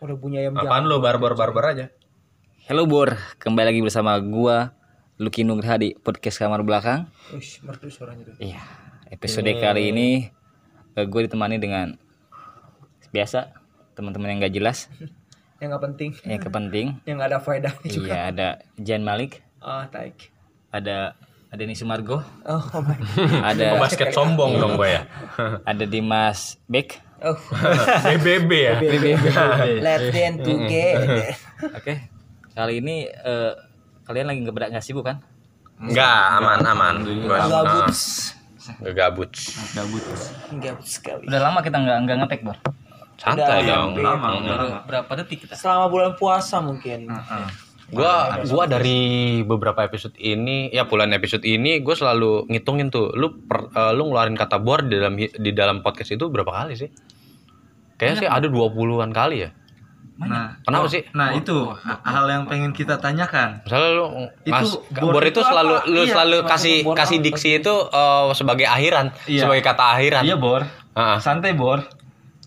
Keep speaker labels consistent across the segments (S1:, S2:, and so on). S1: Udah punya
S2: Ah.
S1: ayam
S3: Apaan lo barbar barbar aja.
S4: Hello Bor, kembali lagi bersama gua Lucky Nugraha di podcast kamar belakang.
S1: Ush, merdu suaranya tuh.
S4: Iya, episode kali ini eh, gue ditemani dengan biasa teman-teman yang gak jelas,
S1: Yang nggak penting,
S4: yang kepenting.
S1: yang nggak ada faedahnya juga.
S4: Iya, ada Jan Malik,
S1: Ah, taik.
S4: ada ada Nisi Margo,
S1: Oh, oh my.
S4: ada
S3: Basket sombong dong gue ya.
S4: ada Dimas Bek.
S1: Oh,
S3: BBB ya.
S2: Iya.
S1: let's dance together.
S4: Oke, kali ini eh, kalian lagi nggak nggak sibuk kan?
S3: Enggak, aman aman. Gue
S1: Gabut.
S3: Gak gabut.
S4: Gabut.
S1: Gabut sekali.
S4: Udah lama kita nggak nggak ngetek Bor.
S3: Santai dong.
S4: Berapa detik kita?
S1: Selama bulan puasa mungkin.
S2: Mm,
S3: Gua gua dari beberapa episode ini, ya puluhan episode ini gue selalu ngitungin tuh. Lu per- eh, lu ngeluarin kata bor di dalam hi- di dalam podcast itu berapa kali sih? Kayaknya sih ada 20-an kali ya.
S2: Nah,
S3: Kenapa sih?
S2: nah itu ha- hal yang pengen kita tanyakan.
S3: Misalnya lu
S2: Itu
S3: mas,
S2: bor
S3: bor, itu
S2: itu apa?
S3: selalu lu
S2: Iya,
S3: selalu kasih kasih diksi itu eh, sebagai akhiran,
S2: Iya.
S3: sebagai kata akhiran.
S2: Iya, Bor.
S3: Ah.
S2: Santai, Bor.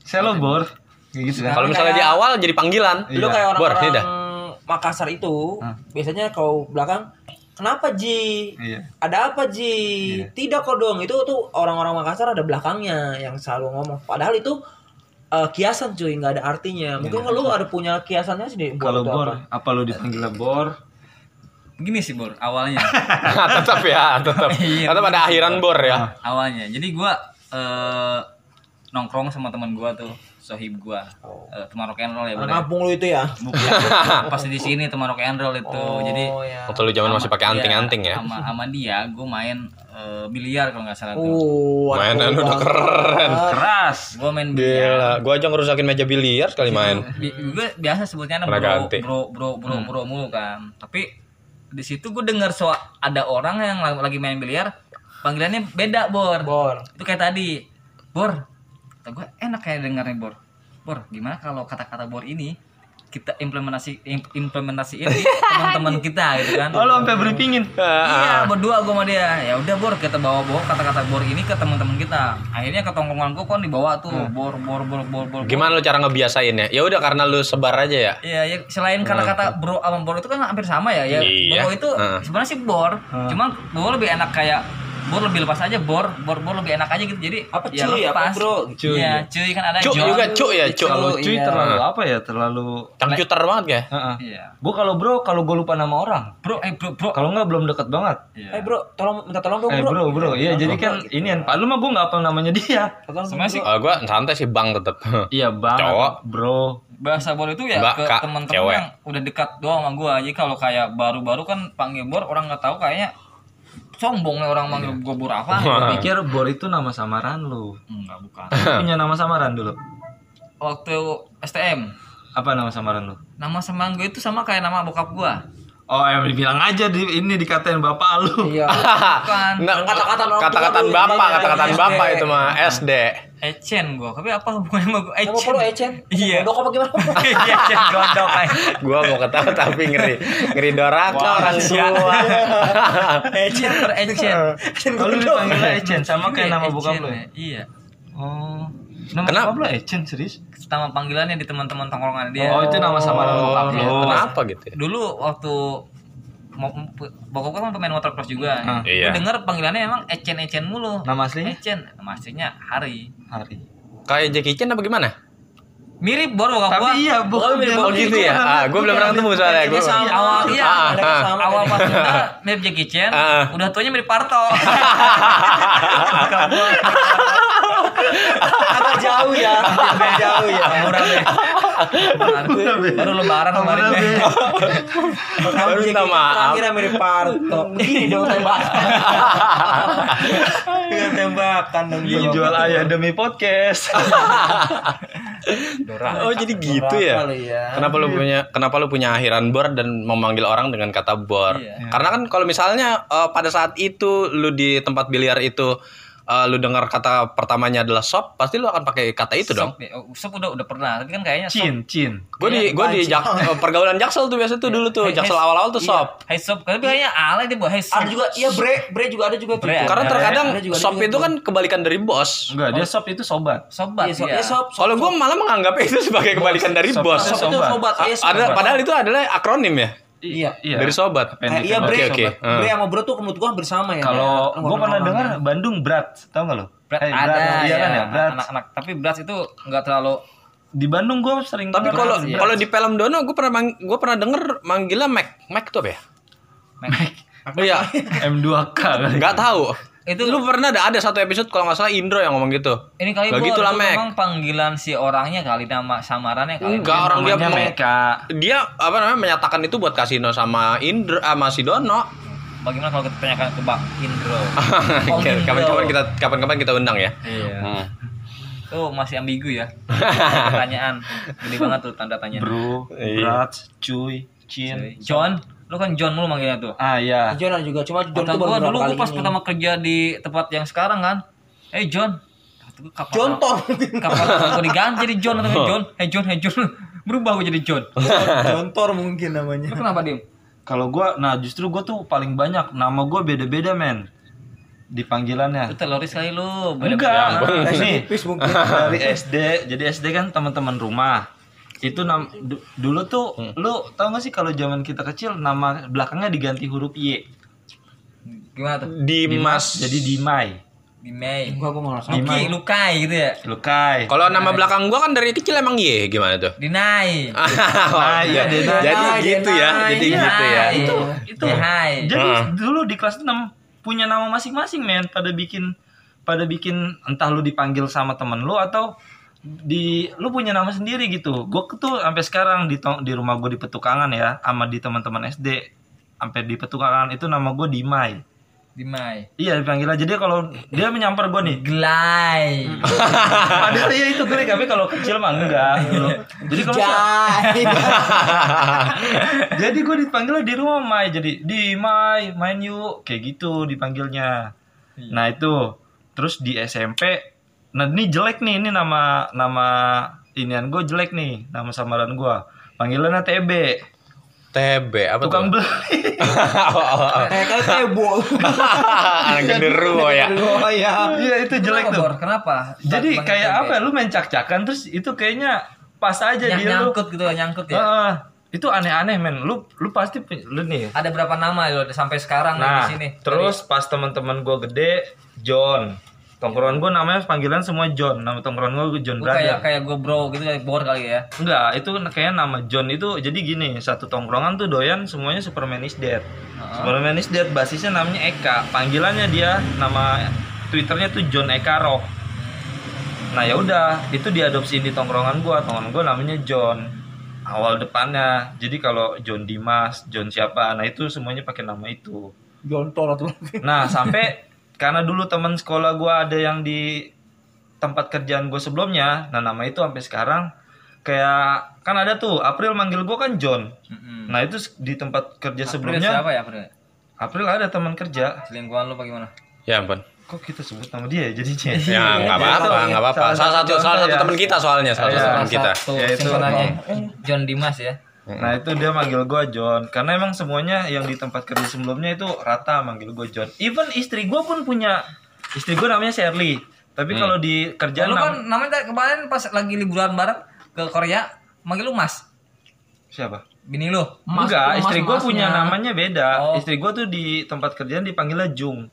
S2: Saya lo, Bor. Kayak gitu kan.
S3: Kalau misalnya di awal jadi panggilan.
S2: Iya.
S1: Lu kayak
S3: Bor, sini
S1: orang-orang
S3: dah.
S1: Makassar itu,
S2: Hah.
S1: biasanya kalau belakang, kenapa Ji?
S2: Iya.
S1: Ada apa Ji?
S2: Iya.
S1: Tidak kok dong. Itu tuh orang-orang Makassar ada belakangnya yang selalu ngomong. Padahal itu eh, kiasan cuy, nggak ada artinya. Mungkin lu ada punya kiasannya sendiri. Bor,
S2: Iya. Kalau
S1: itu
S2: Bor,
S1: apa?
S2: apa lo dipanggil Bor?
S5: gini sih Bor awalnya
S3: tetap ya, tetap. tetap ada akhiran bor ya.
S5: awalnya jadi gua eh, nongkrong sama teman gua tuh sohib gua
S3: Oh.
S5: Eh, teman rock and roll ya
S1: Anak
S5: Bor ya.
S1: kampung lu itu ya.
S5: bukan pas di sini teman rock and roll itu Oh, jadi
S1: ya.
S3: Waktu lu zaman masih Oh. pakai
S5: sama-
S3: anting-anting
S5: iya,
S3: ya.
S5: sama sama dia gua main eh, biliar kalau nggak salah tuh
S1: Oh, anak
S3: Mainan
S1: gua
S3: udah
S1: banget.
S3: keren.
S2: Keras.
S5: gua main biliar
S3: Gila, gua aja ngerusakin meja biliar sekali main.
S5: Bi- gue biasa sebutnya
S3: Pernah
S5: bro,
S3: ganti.
S5: bro bro bro
S3: Hmm.
S5: bro mulu kan tapi di situ gue dengar soal ada orang yang la- lagi main biliar panggilannya beda bor
S1: Bor.
S5: itu kayak tadi bor kata gue enak kayak dengarnya bor bor gimana kalau kata-kata bor ini kita implementasi im- implementasiin di teman-teman kita gitu kan
S2: Oh, lo sampai briefingin.
S5: Iya, berdua gua sama dia. Ya udah Bor, kita bawa-bawa kata-kata Bor ini ke teman-teman kita. Akhirnya ke tongkrongan gua kan dibawa tuh Bor Bor Bor Bor Bor.
S3: Gimana lu cara ngebiasainnya? Ya udah karena lu sebar aja ya.
S5: Iya, ya, selain kata-kata bro sama bor itu kan hampir sama ya. Ya,
S3: Iya.
S5: bro itu
S3: Heeh.
S5: sebenarnya sih bor. Cuman bor lebih enak kayak bor lebih lepas aja bor, bor bor lebih enak aja gitu. Jadi
S1: Apa
S5: ya
S1: cuy, apa
S5: lepas.
S1: bro?
S2: Cuy.
S5: Iya, cuy kan ada
S3: Cuk
S5: John.
S3: juga cuk ya, cuk.
S2: Kalau cuy
S5: iya.
S2: terlalu apa ya? Terlalu
S3: Cangcuter banget ya.
S2: Heeh.
S5: Iya.
S2: Gua kalau bro, kalau gue lupa nama orang.
S5: Bro, eh bro, Iya. bro.
S2: Kalau nggak belum deket banget.
S1: Eh bro, tolong minta tolong dong
S2: Eh
S1: bro.
S2: bro, bro, iya jadi kan ini kan, Pak, lu mah gue nggak apa namanya dia.
S1: Minta tolong
S5: Sebenarnya sih
S3: Eh, gua santai sih bang tetap.
S2: Iya banget,
S3: Cowok.
S2: bro.
S5: bahasa bor itu ya
S3: Mbak,
S5: ke
S3: Kak,
S5: teman-teman
S3: cewek.
S5: yang udah dekat doang sama gua. Jadi kalau kayak baru-baru kan panggil bor orang nggak tahu kayaknya sombong nih orang manggil gua bor apa.
S2: Gua pikir Bor itu nama samaran lu.
S5: Enggak bukan.
S2: Punya nama samaran dulu.
S5: Waktu STM
S2: Apa nama samaran lu?
S5: Nama semanggu itu sama kayak nama bokap gua.
S2: Oh, yang bilang aja di ini dikatain bapak lu.
S1: Iya.
S5: Bukan.
S3: Nah,
S1: Kata-kataan orang tua
S3: kata-kataan
S1: dulu,
S3: bapak,
S1: iya,
S3: kata-kataan
S5: iya,
S3: bapak
S5: SD.
S3: itu mah SD.
S5: Ecen gua. Tapi apa hubungannya sama gua?
S1: Nama perlu Ecen.
S5: Iya.
S1: Gondok apa gimana?
S5: Iya, Ecen gondok
S2: eh.
S5: aja.
S3: Gua mau ketawa tapi ngeri ngeri doraka orang tua.
S5: Ecen per Ecen.
S2: Kalau lu dipanggilnya Echen sama kayak nama bokap lu. ya?
S5: Iya.
S2: Oh. Nama
S3: Kenapa?
S2: bokap lu Echen serius?
S5: Nama panggilannya di teman-teman tongkrongan dia.
S2: Oh, itu nama samaran bokap lu.
S3: Oh, kenapa gitu? ya?
S5: Dulu waktu mau bokap gua kan pemain watercross juga.
S2: Ah,
S3: iya.
S5: Gua denger panggilannya emang Ecen-Ecen mulu.
S2: Nama aslinya
S5: Ecen. Nama aslinya Hari.
S2: Hari.
S3: Kayak Jackie Chan apa gimana?
S5: Mirip bor bokap Oh, gua.
S2: Tapi iya, bokap dia. kan.
S3: Oh gitu ya. Ah, gua belum pernah ketemu soalnya
S1: Ini
S3: gua.
S1: sama.
S5: Awal iya,
S3: Ah,
S1: Mereka
S3: ah.
S1: sama.
S5: awal pas kita mirip Jackie Chan,
S3: Ah.
S5: udah tuanya mirip Parto.
S1: Agak jauh ya. Agak jauh ya.
S5: Kurang deh. Kurang. Baru lebaran kemarin deh.
S1: Baru
S3: minta maaf. Ah,
S1: Terakhir yang mirip Parto. Iya, Begini dong tembakan. Dengan tembakan dong.
S2: Dia jual ayah demi podcast.
S3: Oh jadi gitu ya.
S1: Kali ya.
S3: Kenapa lu punya kenapa lu punya akhiran bor dan memanggil orang dengan kata bor?
S5: Iya.
S3: Karena kan kalau misalnya eh, pada saat itu lu di tempat biliar itu eh, lu dengar kata pertamanya adalah sop, pasti lu akan pakai kata itu dong.
S5: Sop ya. Oh, sop udah udah pernah, tapi kan kayaknya sop.
S2: Cin, Cin.
S3: Gue di gue di Jak- eh, pergaulan Jaksel tuh biasa tuh dulu tuh
S5: Hey, hey,
S3: Jaksel awal-awal tuh
S5: iya.
S3: sop.
S5: Hey sop, tapi kayaknya alay deh, Bu. Hey sop.
S1: Ada juga iya bre, bre juga ada juga gitu. tuh.
S5: Bre,
S3: Karena
S5: Ada,
S3: terkadang
S1: ada Iya, juga, ada gitu.
S3: sop
S1: juga
S3: itu
S1: tuh.
S3: kan kebalikan dari bos.
S2: Enggak, dia sop itu sobat.
S5: sobat.
S1: Iya,
S5: Iya,
S1: sop, iya, sop, sop.
S3: Kalau gue malah menganggap itu sebagai kebalikan dari
S2: Sop.
S3: bos.
S1: Sop itu
S2: sobat.
S1: Oh, sobat. Iya, sobat.
S3: Ah, Ada padahal itu adalah akronim ya
S1: Iya.
S2: Iya.
S3: dari sobat.
S1: Kayak
S2: Pendek
S1: iya
S2: banget.
S1: bre,
S3: Oke, oke.
S1: sobat. bre sama bro tuh menurut gua hampir sama ya.
S2: Kalau
S1: kayak
S2: gue pernah
S1: orang-orangnya.
S2: dengar Bandung berat, tau gak lo?
S5: Berat
S2: Hey,
S5: ada
S2: iya
S5: ya,
S2: kan ya, berat.
S5: anak-anak. Tapi berat itu nggak terlalu
S2: Di Bandung gue sering
S3: Tapi
S2: banget
S3: kalau
S2: berat.
S3: kalau di film Dono gue pernah mang, gue pernah denger manggilnya Mac. Mac itu apa ya? Iya,
S2: M2K kali.
S3: nggak tahu.
S5: Itu-
S3: Itu lu pernah ada ada satu episode kalau nggak salah Indro yang ngomong gitu.
S5: ini kali
S3: Nggak
S5: Bu,
S3: gitu
S5: ada
S3: lah,
S5: tuh
S3: Mek.
S5: memang panggilan si orangnya kali nama samarannya kali.
S3: Enggak orang dia
S2: Iya, Namanya
S3: meng-
S2: Meka.
S3: dia apa namanya menyatakan itu buat kasino sama Indro ah, sama si Dono.
S5: Bagaimana kalau kita tanyakan ke Bang Indro? Om
S3: Oke,
S2: Iya.
S5: Indro.
S3: kapan-kapan kita kapan-kapan kita undang ya.
S5: Iya.
S3: Hmm.
S5: Tuh masih ambigu ya. Pertanyaan. Gede banget tuh tanda tanya.
S2: Bro, berat, cuy, cin.
S5: John, lu kan John mulu manggilnya tuh.
S2: Ah iya.
S1: John ada juga cuma John
S5: Kata
S1: tuh baru
S5: gua
S1: berapa
S5: dulu
S1: kali
S5: gua pas
S1: ini.
S5: pertama kerja di tempat yang sekarang kan. Eh John. Kata gua, Kapan
S1: John Tom.
S5: Kapan gua diganti jadi John atau John? Hey John, hey John. Berubah gua jadi John.
S1: John Tor mungkin namanya.
S5: Lu kenapa diem?
S2: Kalau gue, nah justru gue tuh paling banyak nama gue beda-beda men di
S5: Lu
S2: panggilannya.
S5: teloris kali lu.
S2: Enggak, Eh, nih
S1: Tipis mungkin.
S2: dari SD. Jadi SD kan teman-teman rumah. Itu nam du- dulu tuh lu tau gak sih kalau zaman kita kecil nama belakangnya diganti huruf Y.
S5: Gimana tuh?
S3: Dimas.
S2: Jadi Dimai,
S5: Di Mei.
S1: Gua gua enggak ngerasa.
S5: Luki, Lukai gitu ya.
S2: Lukai.
S3: Kalau nama belakang gua kan dari kecil emang Y gimana tuh? Oh,
S5: Dinai.
S2: Ah, iya, Denai.
S3: Jadi
S1: Denai,
S3: gitu ya,
S2: Ah,
S1: Denai.
S3: jadi gitu ya.
S5: Itu
S2: itu.
S5: Hai.
S2: Jadi
S3: Heeh.
S2: dulu di kelas 6 punya nama masing-masing men pada bikin pada bikin entah lu dipanggil sama temen lu atau di lu punya nama sendiri gitu. Gue tuh sampai sekarang di tong- di rumah gue di Petukangan ya sama di teman-teman SD sampai di Petukangan itu nama gue Dimai.
S5: Di Mai.
S2: Iya dipanggil aja dia kalau dia menyampar gue nih.
S5: Gelai.
S2: Hmm. Padahal ya itu gue tapi kalau kecil mah enggak gitu. Jadi kalau
S1: Jai.
S2: jadi gue dipanggil di rumah Mai jadi di Mai main yuk kayak gitu dipanggilnya nah itu terus di SMP nah ini jelek nih ini nama nama inian gue jelek nih nama samaran gue panggilannya TB
S3: TB apa
S2: tukang
S3: tuh?
S2: beli
S1: Kayak kayak tebol.
S3: Anak genderuwo ya.
S1: Oh ya.
S2: iya itu jelek
S5: Kenapa,
S2: tuh
S5: Bor? Kenapa?
S2: jadi
S5: Bang-
S2: kayak
S5: Bang-
S2: apa ya, lu main cak-cakan terus itu kayaknya pas aja
S5: Nyang-
S2: dia lu Ah.
S5: nyangkut gitu ya, nyangkut ya.
S2: Heeh. itu aneh-aneh men lu lu pasti punya- lu nih
S5: Ada berapa nama lo sampai sekarang nih di
S2: Nah,
S5: sini?
S2: terus pas teman-teman gue gede, John. Tongkrongan gue namanya panggilan semua John. Nama tongkrongan gue
S5: Lu
S2: John Brother.
S5: kayak kayak gue bro gitu kayak bor kali ya.
S2: Enggak, itu kayaknya nama John itu jadi gini, satu tongkrongan tuh doyan semuanya Superman is dead. Superman is dead basisnya namanya Eka. Panggilannya dia nama Twitternya tuh John Eka Rock. Nah, ya udah, itu diadopsiin di tongkrongan gua. Tongkrongan gua namanya John. Awal depannya. Jadi kalau John Dimas, John siapa, nah itu semuanya pakai nama itu.
S1: John Tor atau
S2: Nah sampai karena dulu teman sekolah gua ada yang di tempat kerjaan gue sebelumnya, nah nama itu sampai sekarang kayak kan ada tuh April manggil gua kan John.
S5: Mm-mm.
S2: Nah itu s- di tempat kerja
S5: Hmm. April
S2: sebelumnya
S5: siapa ya April?
S2: April ada teman kerja.
S5: Selingkuhan lu bagaimana?
S3: Ya ampun.
S2: Kok kita sebut nama dia ya jadinya?
S5: Iya.
S3: Ya nggak apa-apa, nggak apa-apa.
S2: Salah
S3: Salah satu
S2: satu
S3: salah satu
S2: contoh ya.
S3: teman kita soalnya, salah satu
S2: Iya.
S3: teman kita.
S5: Satu
S2: Ya, itu.
S5: singkatannya John Dimas ya.
S2: Nah itu dia manggil gua John karena emang semuanya yang di tempat kerja sebelumnya itu rata manggil gua John. Even istri gua pun punya istri gua namanya Shirley. Tapi kalau di kerjaan
S5: Hmm. lu
S2: nam-
S5: kan namanya tadi kemarin pas lagi liburan bareng ke Korea manggil lu Mas.
S2: siapa?
S5: Bini lu.
S2: Enggak, istri gue punya namanya beda.
S5: Oh.
S2: Istri gue tuh di tempat kerjaan dipanggilnya Jung.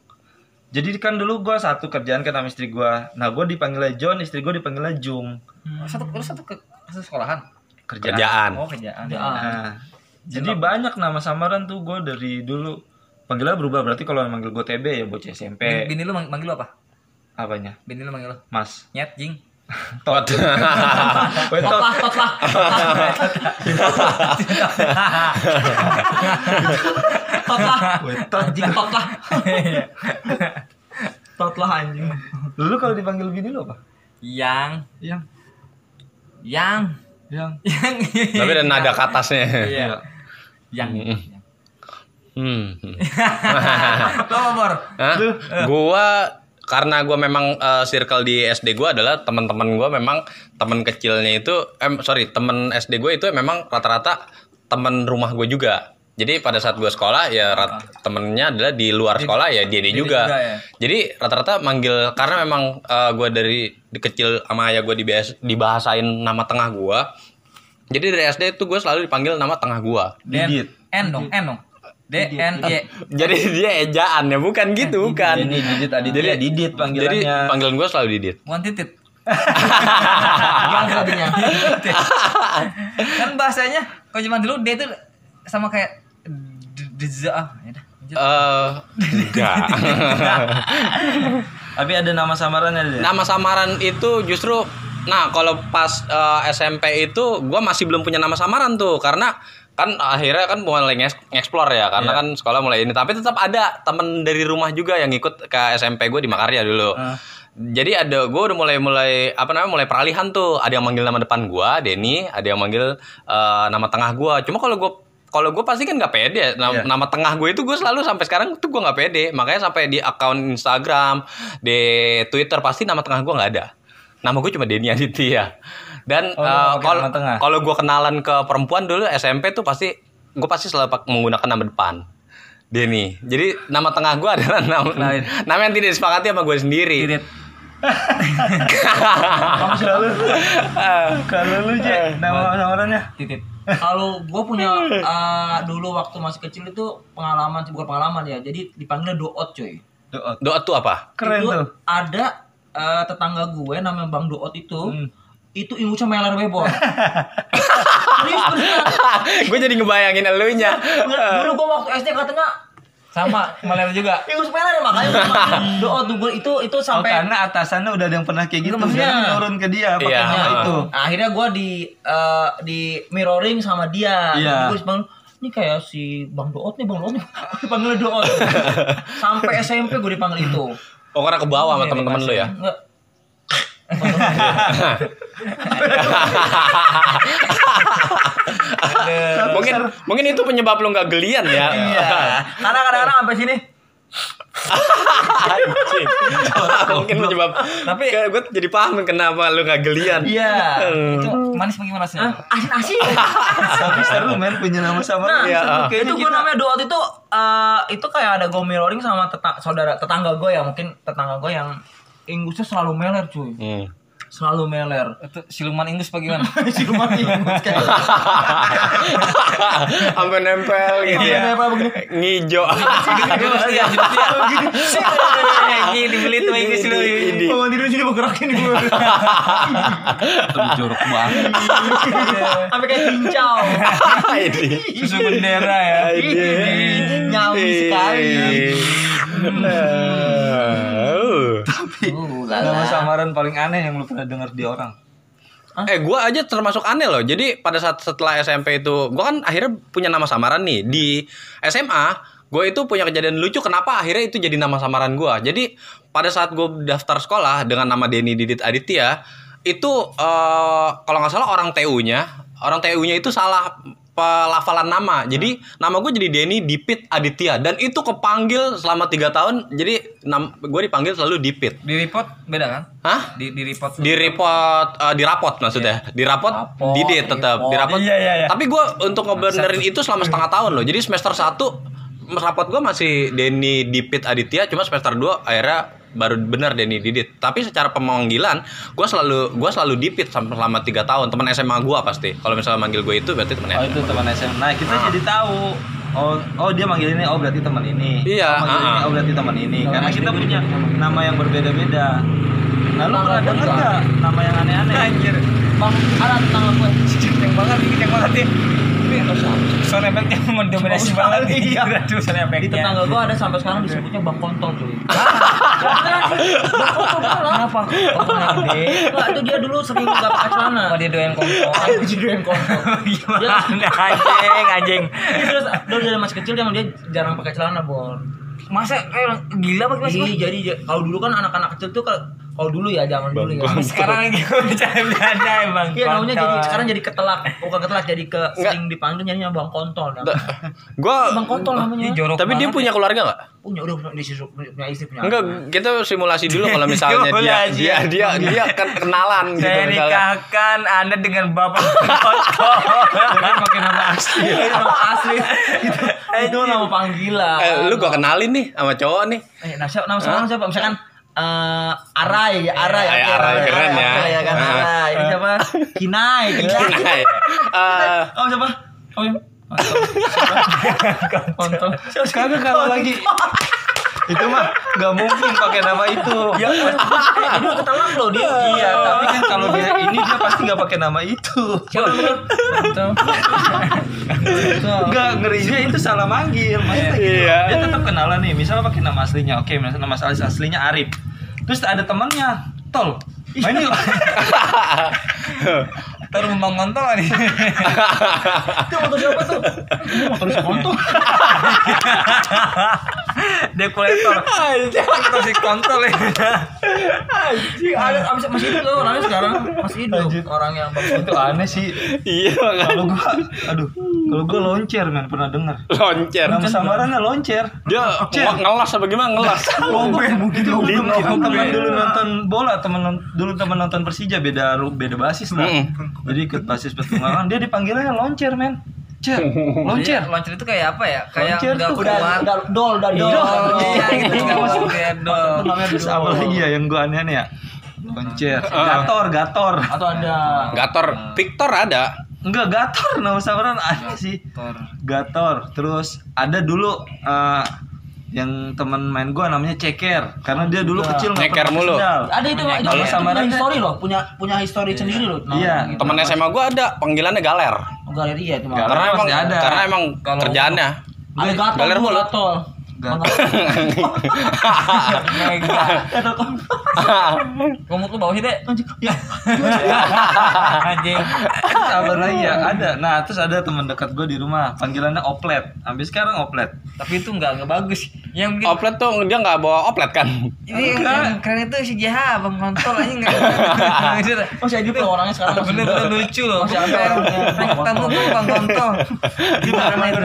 S2: Jadi kan dulu gue satu kerjaan kan sama istri gue. Nah gue dipanggilnya John, istri gue dipanggilnya Jung.
S5: Hmm. Satu lu satu ke satu sekolahan.
S2: Kerjaan.
S3: Kerjaan.
S5: Oh, kerjaan.
S2: Nah, jadi banyak nama samaran tuh gue dari dulu. Panggilan berubah berarti kalau manggil gue TB ya bocah SMP.
S5: Bini lu mang- manggil lu apa?
S2: Apanya?
S5: Bini lu manggil lu
S2: Mas.
S5: Nyet Jing.
S2: Tot. Wetot.
S5: Lah, tot lah. Tot lah. Anjing tot lah.
S1: Tot lah anjing.
S2: Lu kalau dipanggil bini lu apa?
S5: Yang
S2: Yang.
S5: yang
S2: Yang.
S5: yang
S3: Tapi ada nada ke atasnya.
S2: Iya.
S5: yang
S3: Hmm.
S5: Lo, Bor?
S3: Hah? Gua karena gue memang eh, circle di SD gue adalah teman-teman gue memang teman kecilnya itu em sorry teman SD gue itu memang rata-rata teman rumah gue juga jadi pada saat gue sekolah ya rat- temennya adalah di luar sekolah ya dia dia juga,
S5: juga ya.
S3: jadi rata-rata manggil karena memang eh, gue dari di kecil sama ayah gue dibahas, dibahasain nama tengah gue jadi dari SD itu gue selalu dipanggil nama tengah gue
S5: Dan N dong, N dong. D N E. Y.
S3: jadi dia ejaan ya bukan gitu bukan
S2: Ini Didit Aditya,
S3: Jadi-
S2: Didit panggilannya.
S3: Jadi panggilan gue selalu Didit.
S5: One titit.
S1: Gimana tadinya?
S5: Kan bahasanya kalau zaman dulu D itu sama kayak D- Dza. Ah, ya dah. lanjut.
S3: Eh, enggak.
S2: Tapi ada nama samaran ada.
S3: Nama samaran itu justru nah kalau pas eh, SMP itu gua masih belum punya nama samaran tuh karena kan akhirnya kan mulai nge- nge-explore ya karena kan sekolah mulai ini tapi tetap ada temen dari rumah juga yang ikut ke SMP gue di Makarya dulu. Jadi ada gue udah mulai mulai apa namanya mulai peralihan tuh ada yang manggil nama depan gua Denny ada yang manggil eh, nama tengah gua cuma kalau gue kalau gue pasti kan nggak pede nama,
S2: Iya.
S3: nama tengah gue itu gue selalu sampai sekarang tuh gue nggak pede makanya sampai di akun Instagram di Twitter pasti nama tengah gue nggak ada nama gue cuma Denny Aditya dan
S2: lu nggak
S3: eh,
S2: pakai
S3: kalau
S2: Oh, nama tengah?
S3: kalau gue kenalan ke perempuan dulu SMP tuh pasti gue pasti selalu pak- menggunakan nama depan Denny jadi nama tengah gue adalah nama nama yang tidak disepakati sama gue sendiri
S5: Titit.
S2: Kamu selalu. Kalau lu Je, nama samarannya.
S5: Titit.
S1: Kalau gue punya eh, dulu waktu masih kecil itu pengalaman bukan pengalaman ya. Jadi dipanggilnya doot cuy.
S2: Doot.
S3: doa tuh apa
S2: Keren
S1: itu
S2: tuh.
S1: ada eh, tetangga gue namanya Bang Doot itu.
S2: Hmm.
S1: Itu imutnya meler bebon. Serius, beneran.
S3: gue jadi ngebayangin elunya
S1: Bener, Dulu gue waktu SD katanya
S5: Sama Maler juga.
S1: ingus meler ya makanya gue panggil Doot tuh gue itu itu
S2: Oh,
S1: sampai
S2: karena atasannya udah ada yang pernah kayak gitu,
S1: Enggak, maksudnya-
S2: jadi nurun ke dia pakai
S3: Iya.
S2: nama itu.
S1: ya. Nah, akhirnya gue di eh, di mirroring sama dia
S2: Iya.
S1: Jadi gue bilang ini kayak si bang doot nih bang doot nih dipanggil doot sampai SMP gue dipanggil itu
S3: oh karena ke bawah
S2: Iya,
S3: sama teman-teman lu ya
S1: Nggak.
S3: mungkin mungkin itu penyebab lu nggak gelian ya
S5: Iya.
S1: karena kadang-kadang sampai sini
S3: Anjing. mungkin penyebab tapi
S5: Tapi-
S3: gue jadi paham kenapa lu nggak gelian
S1: iya
S5: Itu manis bagaimana sih?
S1: asin asin
S2: Tapi seru men punya nama samaran.
S3: Iya.
S2: Seru
S1: itu
S2: kayaknya
S1: gue
S2: kita.
S1: namanya doot itu eh, itu kayak ada gue mirroring sama teta- saudara tetangga gue ya mungkin tetangga gue yang Inggrisnya selalu meler cuy
S3: Hmm.
S1: selalu meler
S5: Itu siluman Inggris bagaimana?
S1: siluman Inggris kayak
S3: sampai nempel gitu ya
S1: Sampai Iya. nempel begini.
S3: ngijo
S1: Ah,
S5: Lagi dibeli tuh Inggris lu.
S3: Ini.
S1: Bangun tidur sini mau gerakin gue
S5: Jorok banget.
S1: Sampai kayak cincau
S3: Ini.
S5: Susu bendera ya.
S3: Iya.
S1: Ini Nyambi Iya. sekali
S3: Iya. Eh.
S2: Nama samaran paling aneh yang lu pernah dengar di orang.
S3: Eh gua aja termasuk aneh loh. Jadi pada saat setelah SMP itu gua kan akhirnya punya nama samaran nih di SMA. Gue itu punya kejadian lucu kenapa akhirnya itu jadi nama samaran gua. Jadi pada saat gue daftar sekolah dengan nama Denny Didit Aditya itu eh, kalau nggak salah orang TU-nya, orang TU-nya itu salah pelafalan nama. Jadi nama gue jadi Denny Dipit Aditya dan itu kepanggil selama tiga tahun. Jadi nam gue dipanggil selalu Dipit.
S5: Di report beda kan?
S3: Hah?
S5: Di di report.
S3: di report eh, di rapot maksudnya di rapot Didit tetap di rapot
S2: Iya, iya, iya.
S3: tapi gue untuk ngebenerin itu selama setengah tahun loh jadi semester 1 rapot gue masih Denny Dipit Aditya cuma semester 2 akhirnya baru bener Denny Didit tapi secara pemanggilan gue selalu gua selalu Dipit sampai selama 3 tahun teman SMA gue pasti kalau misalnya manggil gue itu berarti temen
S2: Oh itu teman SMA. Nah kita jadi tahu. Oh, oh dia manggil ini, oh berarti teman ini.
S3: Iya,
S2: Oh,
S3: ah,
S2: manggil ini,
S3: ah.
S2: oh berarti teman ini. Karena kita punya nama yang berbeda-beda. Nah, lu pernah denger nggak nama yang aneh-aneh?
S5: Anjir.
S1: Bang, ada tetangga gue
S5: Kenceng banget ini kenceng banget ya. Ini sound effect-nya mendominasi banget nih. Aduh, sound
S1: iya. Di
S5: effect-nya.
S1: tetangga gue ada sampai sekarang disebutnya Bang Kontol cuy Beneran, Bang Kontol beneran.
S5: Kenapa? Oh, malah gede.
S1: Enggak, itu dia dulu sering gak pakai celana
S5: Apa dia doyan kompor?
S1: Dia Jadian kontol Dia
S5: Gimana anjing anjing.
S1: dia terus dulu dari masih kecil dia dia jarang pakai celana Bon
S5: Masa kayak orang gila apa gimana sih?
S1: Iya, jadi j- kalau dulu kan anak-anak kecil tuh kalau kalau Oh dulu ya zaman dulu ya.
S5: Sekarang lagi bercanda-bercanda emang.
S1: Iya namanya jadi
S5: kontol.
S1: sekarang jadi ketelak, bukan ketelak jadi ke sering dipanggil jadinya Bang Kontol. namanya.
S3: Gua
S1: Bang Kontol namanya.
S5: Ini jorok
S3: tapi dia
S5: banget
S3: punya keluarga nggak?
S1: Punya udah punya istri, punya istri punya.
S3: Enggak, kita simulasi dulu kalau misalnya dia
S5: Simulasi.
S3: dia dia dia ken- kenalan
S5: ya.
S3: gitu
S5: Saya
S3: misalnya.
S5: nikahkan Anda dengan bapak kontol.
S2: pakai nama asli
S1: Nama asli. Itu, itu nama panggilan.
S3: Eh, lu gua kenalin nih sama cowok nih.
S1: Eh, nah, siapa, nama sekarang siapa? Misalkan eh Arai, ya, Arai,
S3: Eh,
S1: oke,
S3: Arai, keren ya.
S1: Arai, kan,
S3: Ah.
S1: Arai. Ini siapa? Kinai, Kinai.
S3: Nah, ya. Eh,
S2: oh siapa oh iya. Kontol. Kagak kalau lagi itu mah nggak mungkin pakai nama itu.
S1: Eh, Ini ketelak loh dia.
S2: Iya, tapi kan kalau dia ini dia pasti nggak pakai nama itu.
S1: Siapa namanya?
S2: Enggak, ngerinya itu salah manggil. Maksudnya gitu.
S3: Oh, Iya.
S2: Dia tetap kenalan nih. Misalnya pakai nama aslinya. Oke, misalnya nama asli aslinya Arif. Terus ada temannya, Tol.
S3: Nah,
S2: Main yuk.
S5: Terus memang kontol nih.
S1: Itu motor siapa tuh? Ini motor si Kontol.
S5: Dia kolektor. Itu si kontol ya.
S1: Anjing, ada abis masih hidup loh orangnya sekarang masih hidup orang yang Bang
S2: itu aneh sih.
S3: iya makanya.
S2: Kalau gua aduh, kalau gua loncer men pernah dengar.
S3: loncer.
S2: Nama samarannya loncer.
S3: Dia nge- ngelas apa gimana ngelas?
S2: Lomben mungkin teman dulu
S3: Iya.
S2: nonton bola teman non- dulu teman nonton Persija beda ru- beda basis lah
S3: Mm-mm.
S2: jadi ikut basis pertunggangan dia dipanggilnya loncer men cer loncer
S5: Loncer Iya, itu kayak apa ya? Kayak
S2: Loncer
S5: enggak
S2: tuh
S1: udah
S5: keluar.
S1: udah dol udah dol.
S5: Oh, iya gitu.
S1: Dol.
S5: Nggak masuk ya, dol.
S2: namanya terus apa lagi ya yang gua aneh ya loncer
S5: Ah.
S2: gator gator
S1: Atau ada
S3: Gator, Victor ada.
S2: enggak gator nama samaran aneh sih
S5: Kontol.
S2: gator terus ada dulu eh, yang teman main gua namanya ceker karena dia
S5: Iya.
S2: dulu kecil nggak
S3: Ceker
S2: pernah
S3: mulu.
S2: sendal.
S1: ada itu Pak, itu
S2: Kalau
S1: itu
S2: sama
S1: punya
S2: Rangga-
S1: histori loh, punya punya histori sendiri loh. Nah,
S2: Iya.
S1: gitu.
S3: Temen SMA gua ada, panggilannya Galer.
S1: Oh, Galeri ya itu mah.
S3: Karena emang
S2: pasti ada.
S3: karena emang kerjaannya.
S1: Ada gator,
S3: Galer
S1: tuh,
S3: mulu.
S1: gator.
S5: Mega. Komut lu bawah sih, Dek. Anjing.
S2: Terus apa lagi ya? Ada. Nah, terus ada teman dekat gue di rumah, panggilannya oplet. Sampai sekarang oplet.
S5: Tapi itu enggak enggak bagus. Yang bikin
S3: oplet tuh dia nggak bawa oplet kan?
S5: Ini yang, yang keren itu si Jaha abang kontol aja nggak. Maksud,
S1: Oh, saya juga orangnya sekarang
S5: bener bener lucu loh.
S1: Masih ada orangnya.
S5: Fakta tuh tuh bang kontol. Gimana itu?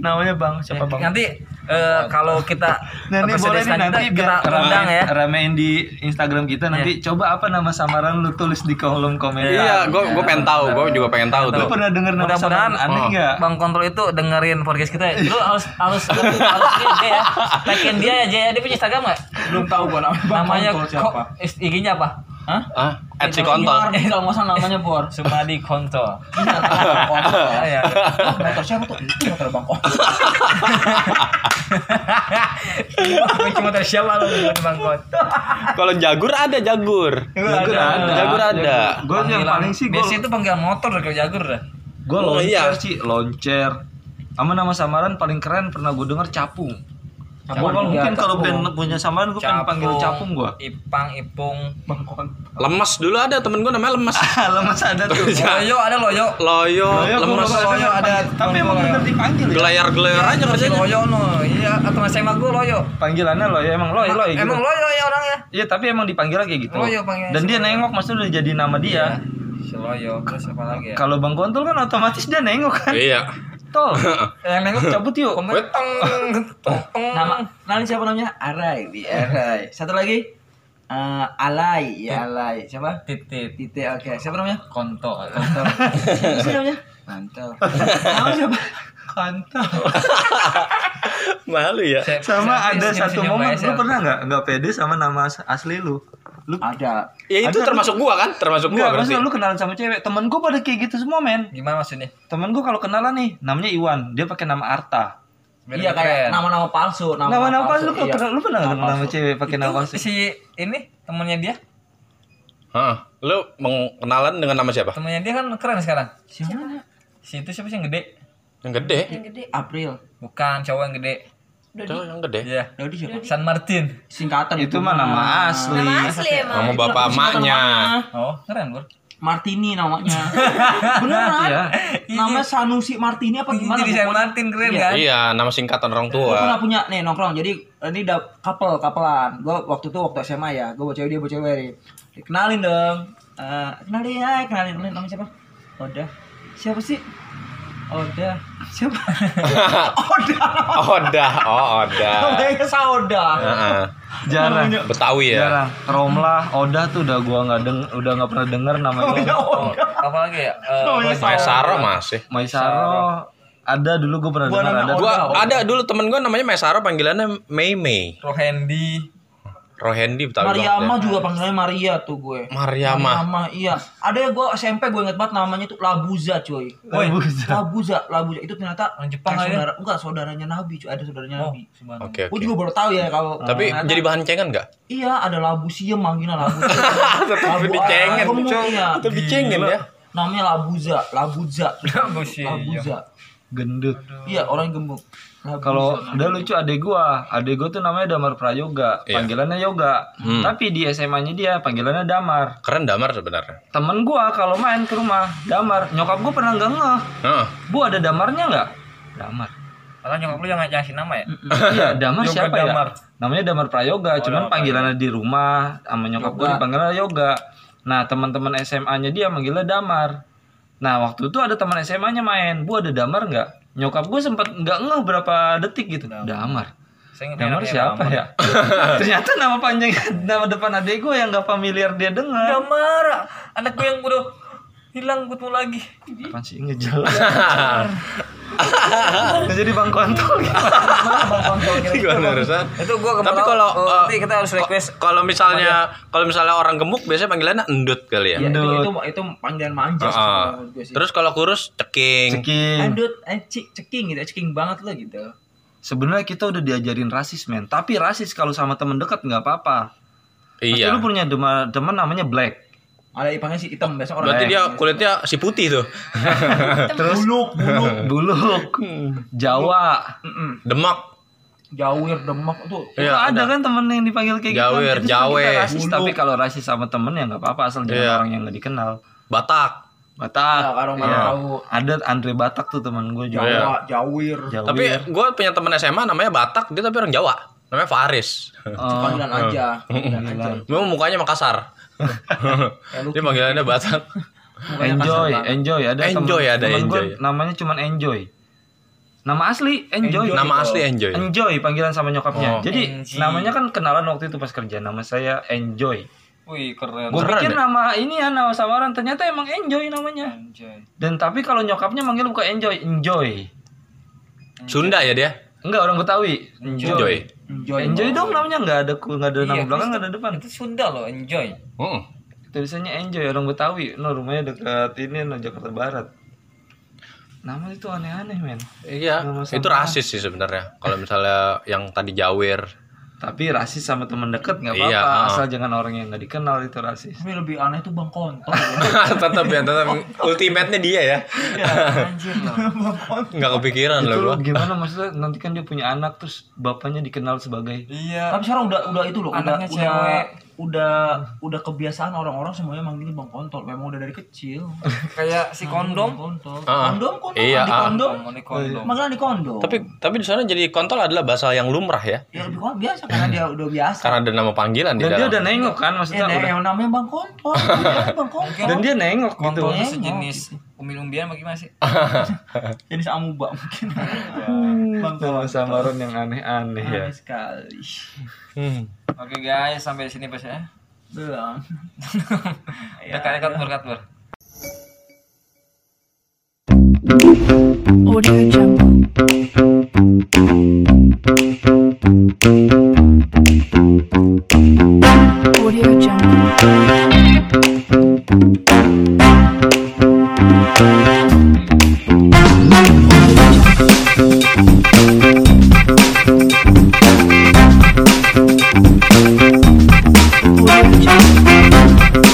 S2: Namanya Bang, siapa Bang?
S5: Nanti eh, kalau kita
S2: Nah, ini
S5: episode
S2: boleh nih
S5: selanjutnya
S2: nanti
S5: kita
S2: biar
S5: undang
S2: ramein,
S5: ya. Iya.
S2: ramein di Instagram kita nanti coba apa nama samaran lu tulis di kolom komentar.
S3: Iya, gua gua pengen tahu, gua juga pengen tahu
S2: Lu
S3: tuh.
S2: pernah denger nama
S5: Mudah-mudahan
S2: samaran aneh enggak?
S5: Bang Kontrol itu dengerin podcast kita. Lu harus harus harus ini aja ya. Tagin dia aja ya. Dia punya Instagram enggak?
S1: belum tahu gua namanya. Bang
S5: Namanya
S1: Kontol
S5: kok IG-nya apa? Hah?
S3: Ah, at si kontol.
S1: Eh, kalau nggak salah namanya Bor.
S5: Sumadi Kontol.
S1: Iya, Bang Kontol.
S5: Ya, ya.
S1: Oh, motor siapa tuh? Itu motor Bang Kontol.
S5: Kunci motor siapa lu bukan Bang Kontol?
S3: Kalau jagur ada jagur.
S2: Jagur ada.
S3: Jagur ada.
S2: Gue yang
S5: Panggilan-
S2: paling sih gue
S5: Biasanya itu panggilan motor kalau jagur ya? dah.
S2: gue
S3: Oh,
S2: loncer
S3: iya.
S2: sih, loncer. Sama nama samaran paling keren pernah gue denger capung. Gua kalau mungkin kalau pengen punya samaran gue pengen panggil capung gue.
S5: Ipang, Ipung.
S1: Bang Kontol.
S3: Lemes dulu ada temen gua namanya lemes.
S2: Lemes ada tuh. ya,
S5: Loyo ada loyo.
S3: Loyo, lemes.
S2: soalnya ada tapi emang bener dipanggil ya
S3: Gelayar-gelayar aja
S5: Masih
S3: kerjanya.
S5: loyo no. Iya, atau SMA gua loyo.
S2: panggilannya lo ya emang lo ya lo ya
S5: Emang
S2: gitu.
S5: loyo ya orangnya?
S2: Iya tapi emang dipanggil kayak gitu.
S5: Lo ya panggilnya
S2: Dan dia
S5: siapa?
S2: nengok maksudnya udah jadi nama dia.
S5: Si loyo, terus apa lagi ya?
S2: Kalau Bang Kontol kan otomatis dia nengok kan.
S3: Iya.
S2: Tol.
S1: Eh,
S5: Yang nengok
S2: Cabut yuk.
S5: Teng, teng.
S1: Nama, nama siapa namanya? Arai, di Arai. Satu lagi eh, Alai, ya Alai. Siapa?
S5: titit
S1: Tite, oke. Siapa namanya?
S5: konto
S1: Kontol. Siapa sih namanya? Kontol. Nama siapa? Kontol.
S3: Malu ya.
S2: Sama ada satu
S5: Senyum-senyum
S2: momen
S5: aja,
S2: lu
S5: Sel.
S2: pernah nggak nggak pede sama nama as- asli lu? Lu
S1: Ada.
S3: Ya itu
S2: Ada.
S3: termasuk gua kan? Termasuk gua
S2: Enggak,
S3: berarti.
S2: maksudnya lu kenalan sama cewek. Temen gue pada kayak gitu semua, men.
S5: gimana maksudnya
S2: Temen gue kalau kenalan nih, namanya Iwan, dia pakai nama Arta.
S5: Biar
S1: iya
S5: lebih
S1: kayak
S5: keren.
S1: nama-nama palsu,
S2: Nama-nama apa lu
S1: iya.
S2: kalau- lu pernah nggak kenal sama cewek pakai nama
S5: Itu
S2: palsu?
S5: si ini temennya dia
S3: Heeh. Lu mau kenalan dengan nama siapa?
S5: temennya dia kan keren sekarang si itu siapa sih yang gede
S3: Yang gede.
S1: April.
S5: bukan cowok yang gede
S3: Cowok yang gede.
S5: iya
S1: Dodi siapa?
S5: San Martin
S1: Singkatan
S2: Itu mah nama asli.
S6: Nama asli emang.
S3: Nama bapak emaknya.
S5: oh keren bro
S1: Martini namanya. Beneran?
S2: Iya.
S5: Iya,
S1: namanya Sanusi Martini apa Oh, gimana?
S5: Jadi San Martin keren
S1: Iya.
S5: kan?
S3: Iya, nama singkatan orang
S1: Gue pernah
S3: tua.
S1: punya nih nongkrong. Jadi ini udah couple kapelan. Gue waktu itu waktu SMA ya. Gue bawa cewek dia bawa cewek. nih. Dikenalin dong. Eh, kenalin ya, kenalin. Kenalin namanya siapa? Oda. Siapa sih? Oda. Siapa? Oda.
S3: Oda, oh Oda.
S1: Namanya Saoda.
S3: Heeh.
S2: Jarang.
S3: Betawi ya.
S2: Jarang. Rom lah, Oda tuh udah gua nggak deng, udah nggak pernah denger namanya.
S1: Namanya Oda.
S5: Apalagi ya? Eh,
S3: Iya. Maesaro masih.
S2: Maisaro ada dulu gue pernah
S1: Gua
S2: dengar
S1: nama
S2: ada.
S1: Oda.
S3: Gua ada dulu temen gua namanya Maesaro panggilannya Mei Mei.
S5: Rohendi.
S3: Rohendi Betawi
S1: Mariama
S3: banget ya.
S1: juga panggilannya Maria tuh gue.
S3: Mariama.
S1: Mariama, iya. Ada yang gue SMP gue inget banget namanya tuh Labuza cuy.
S2: Kan Labuza.
S1: Labuza, Labuza itu ternyata
S5: Orang Jepang
S1: kayak
S5: kali ya? Oh.
S1: saudara, enggak saudaranya Nabi cuy, ada saudaranya Nabi.
S5: Subhanallah.
S3: Oke,
S1: Gue
S3: oke.
S1: juga baru tahu ya kalau
S3: Tapi
S1: ternyata-
S3: jadi bahan cengan enggak?
S1: iya ada labu siam manggilnya labu.
S3: Tetap
S1: Labu
S3: dicengin,
S1: ayam,
S3: Cok.
S1: iya.
S3: Tetap dicengin ya.
S1: Namanya Labuza, Labuza.
S5: Labu siam.
S1: Labuza.
S2: Gendut.
S1: Iya, orang yang gemuk. Labuza.
S2: Kalau udah lucu adek gua, adek gua tuh namanya Damar Prayoga,
S3: Iya.
S2: panggilannya Yoga.
S3: Hmm.
S2: Tapi di SMA-nya dia panggilannya Damar.
S3: Keren damar sebenarnya.
S2: Temen gua kalau main ke rumah Damar, nyokap gua pernah nggak ngeh.
S3: Heeh.
S2: Bu ada Damarnya nggak? Damar.
S5: Padahal nyokap lu yang ngasih nama ya?
S2: Iya, Damar
S5: Yoga
S2: siapa
S5: Damar.
S2: ya? Namanya Oh, Damar Prayoga, cuman panggilannya di rumah sama nyokap gue dipanggilnya Yoga. Nah, teman-teman SMA-nya dia manggilnya Damar. Nah, waktu itu ada teman SMA-nya main, "Bu ada Damar nggak?" Nyokap gue sempat nggak ngeh berapa detik gitu. Damar.
S5: Saya nggak
S2: Damar siapa ya? Ternyata nama panjang nama depan adik gue yang nggak familiar dia dengar.
S5: Damar, anak gue yang udah hilang ketemu lagi.
S2: Apaan sih ngejelas? Nggak jadi bang kontol.
S3: Gimana urusan?
S5: Itu gue kemarin.
S3: Tapi kalau
S5: oh,
S3: eh,
S5: nanti kita harus request.
S3: ko- kalau misalnya kalau misalnya orang gemuk biasanya panggilannya endut kali ya.
S1: Iya, itu,
S2: Endut.
S1: itu itu panggilan manja sih
S3: Heeh.
S1: kalau menurut gue sih.
S3: Ah, Terus kalau kurus ceking.
S2: Cekin.
S1: Endut, eh, cik- ceking gitu, ceking banget lo gitu.
S2: Sebenarnya kita udah diajarin rasis men, tapi rasis kalau sama temen dekat nggak apa-apa. Pasti
S3: Iya.
S2: lu punya dema- teman namanya Black.
S1: Ada ipangnya sih hitam biasa orang.
S3: Berarti
S1: Arab.
S3: dia kulitnya si putih tuh.
S2: Terus buluk, buluk, Jawa.
S1: Mm-mm.
S3: Demak.
S1: Jawir, Demak tuh.
S3: Hmm. Iya,
S2: Itu ada kan temen yang dipanggil kayak gitu.
S3: Jawir,
S2: Itu kan
S3: Jawe.
S2: kita rasis, tapi kalau rasis sama temen ya nggak apa-apa asal jangan
S3: Iya.
S2: orang yang nggak dikenal.
S3: Batak.
S2: Batak.
S1: Ya, kalau nggak
S2: Iya.
S1: tahu.
S2: Ada Andre Batak tuh temen gue juga.
S3: Iya.
S1: Jawa, Jawir.
S2: Jawa.
S3: Tapi gue punya teman SMA namanya Batak, dia tapi orang Jawa. Namanya Faris.
S2: Oh,
S1: Panggilan aja. Panggilan aja.
S3: Memang mukanya Makassar. dia panggilannya Batak.
S1: Mukanya
S2: enjoy,
S1: kasar banget.
S2: enjoy. Ada
S3: Enjoy, ada
S2: gue
S3: enjoy.
S2: namanya cuman enjoy. Nama asli enjoy.
S3: Nama asli Enjoy.
S2: Enjoy panggilan sama nyokapnya.
S3: Oh.
S2: Jadi
S5: Enji.
S2: namanya kan kenalan waktu itu pas kerja. Nama saya Enjoy.
S5: Wih keren.
S2: Gue
S3: Keren
S2: pikir
S3: ya?
S2: nama ini ya nama samaran ternyata emang Enjoy namanya.
S5: Anjay.
S2: Dan tapi kalau nyokapnya manggil bukan Enjoy, Enjoy.
S3: Sunda ya dia?
S2: Enggak orang Betawi.
S3: Enjoy.
S2: Enjoy.
S1: Enjoy.
S2: Enjoy dong namanya enggak ada ku- enggak ada nama
S5: Iya,
S2: belakang
S5: terus-
S2: enggak ada depan.
S5: Itu Sunda loh, enjoy.
S3: Hmm.
S2: Tulisannya Enjoy orang Betawi. No rumahnya dekat ini no Jakarta Barat. Nama itu aneh-aneh men.
S3: Iya,
S2: Nama sama.
S3: itu rasis sih sebenarnya. Kalau misalnya yang tadi Jawir,
S2: Tapi rasis sama teman deket nggak apa-apa
S3: Iya, ah.
S2: asal jangan orang yang nggak dikenal itu rasis.
S1: Tapi lebih aneh tuh Bang Kontol.
S3: tetap ya, tetap ultimate-nya dia ya.
S1: Iya,
S5: Anjir loh.
S3: Nggak kepikiran
S2: Itu
S3: loh gua.
S2: gimana maksudnya nanti kan dia punya anak terus bapaknya dikenal sebagai
S5: Iya.
S1: Tapi sekarang udah udah itu loh, udah
S5: Anaknya
S1: udah
S5: cewek.
S1: udah udah kebiasaan orang-orang semuanya manggilnya Bang Kontol. Memang udah dari kecil.
S5: Kayak si
S1: Bang
S5: kondom.
S1: Kontol.
S3: Ah,
S1: Kondom, kondom,
S3: iya,
S1: di
S3: ah.
S1: kondom. Iya.
S5: Ngomong di kondom.
S1: Makanya di kondom.
S3: Tapi tapi di sana jadi kontol adalah bahasa yang lumrah ya,
S1: ya lebih kurang biasa karena dia udah biasa.
S3: karena ada nama panggilan di
S2: dan dia
S3: dalam.
S2: udah nengok kan
S1: Ya,
S2: maksudnya
S1: nah,
S2: udah
S1: yang namanya Bang Kontol. Namanya Bang Kontol.
S2: dan dia nengok gitu.
S5: Kontolnya
S1: Gitu.
S5: sejenis umil-umbian bagaimana sih?
S1: Jenis amuba mungkin. Bang
S2: Sama samaran yang aneh-aneh ya.
S1: Aneh sekali.
S3: Hmm.
S5: Oke guys, sampai di sini pas ya.
S1: Belum.
S5: Dekat-dekat berkat ber.
S6: Audio Jungle. Audio Jungle. Audio Jungle.